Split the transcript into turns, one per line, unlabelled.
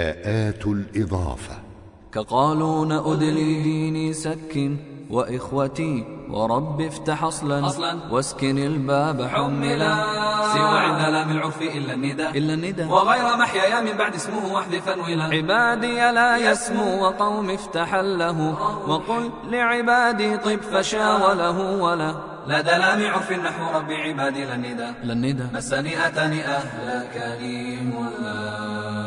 ياءات الإضافة
كقالون أدلي ديني سكن وإخوتي ورب افتح أصلا, أصلا واسكن الباب حملا
سوى عند لام العرف إلا الندى
إلا الندى
وغير محيايا من بعد اسمه واحذفا ولا
عبادي لا يسمو وقوم افتحا له وقل لعبادي طب فشا وله ولا
لدى لام عرف نحو ربي عبادي لا الندى
لا الندى
مسني أتني أهلكني ملا